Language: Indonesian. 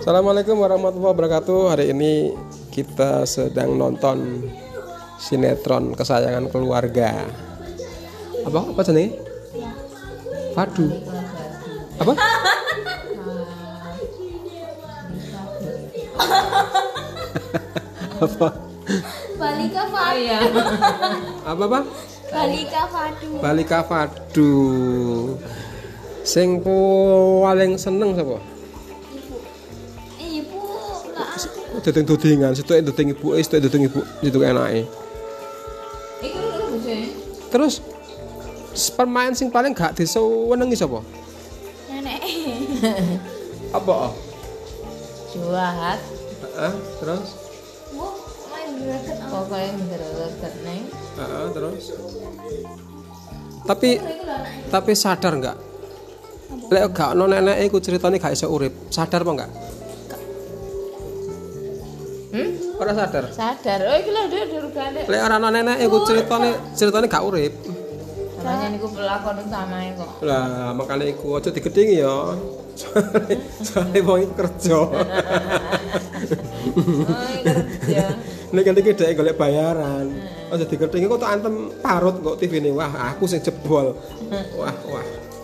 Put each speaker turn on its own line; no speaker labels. Assalamualaikum warahmatullahi wabarakatuh. Hari ini kita sedang nonton sinetron kesayangan keluarga. Apa apa jenenge? Padu. Apa? apa?
Balika Fadu.
Apa apa?
Balika Fadu.
Balika Padu. Sing paling seneng sapa?
Ibu enggak
Dudung dudingan, situ dudung ibu, situ dudung ibu, situ enake.
Iku lho bojone.
Terus permain sing paling gak disewenengi sapa?
nenek.
Apa?
Juahat
Heeh, terus?
Bu, main greget.
pokoknya ngereget neng.
Heeh, terus. Tapi
Iku lho anak.
tapi sadar nggak? Lek gak ono nenek iku ceritane gak iso urip. Sadar apa enggak?
Hmm?
Ora sadar.
Sadar. Oh iki lho dia durgane.
Lek ora ono nenek iku ceritane ceritane gak urip.
Namanya niku pelakon utamae kok.
Lah, makane iku aja digedingi ya. Soale wong iku kerja.
Oh iya kerja.
Nek ganti dhek golek bayaran. Aja digedingi kok tak antem parut kok TV-ne. Wah, aku sing jebol. Wah, wah.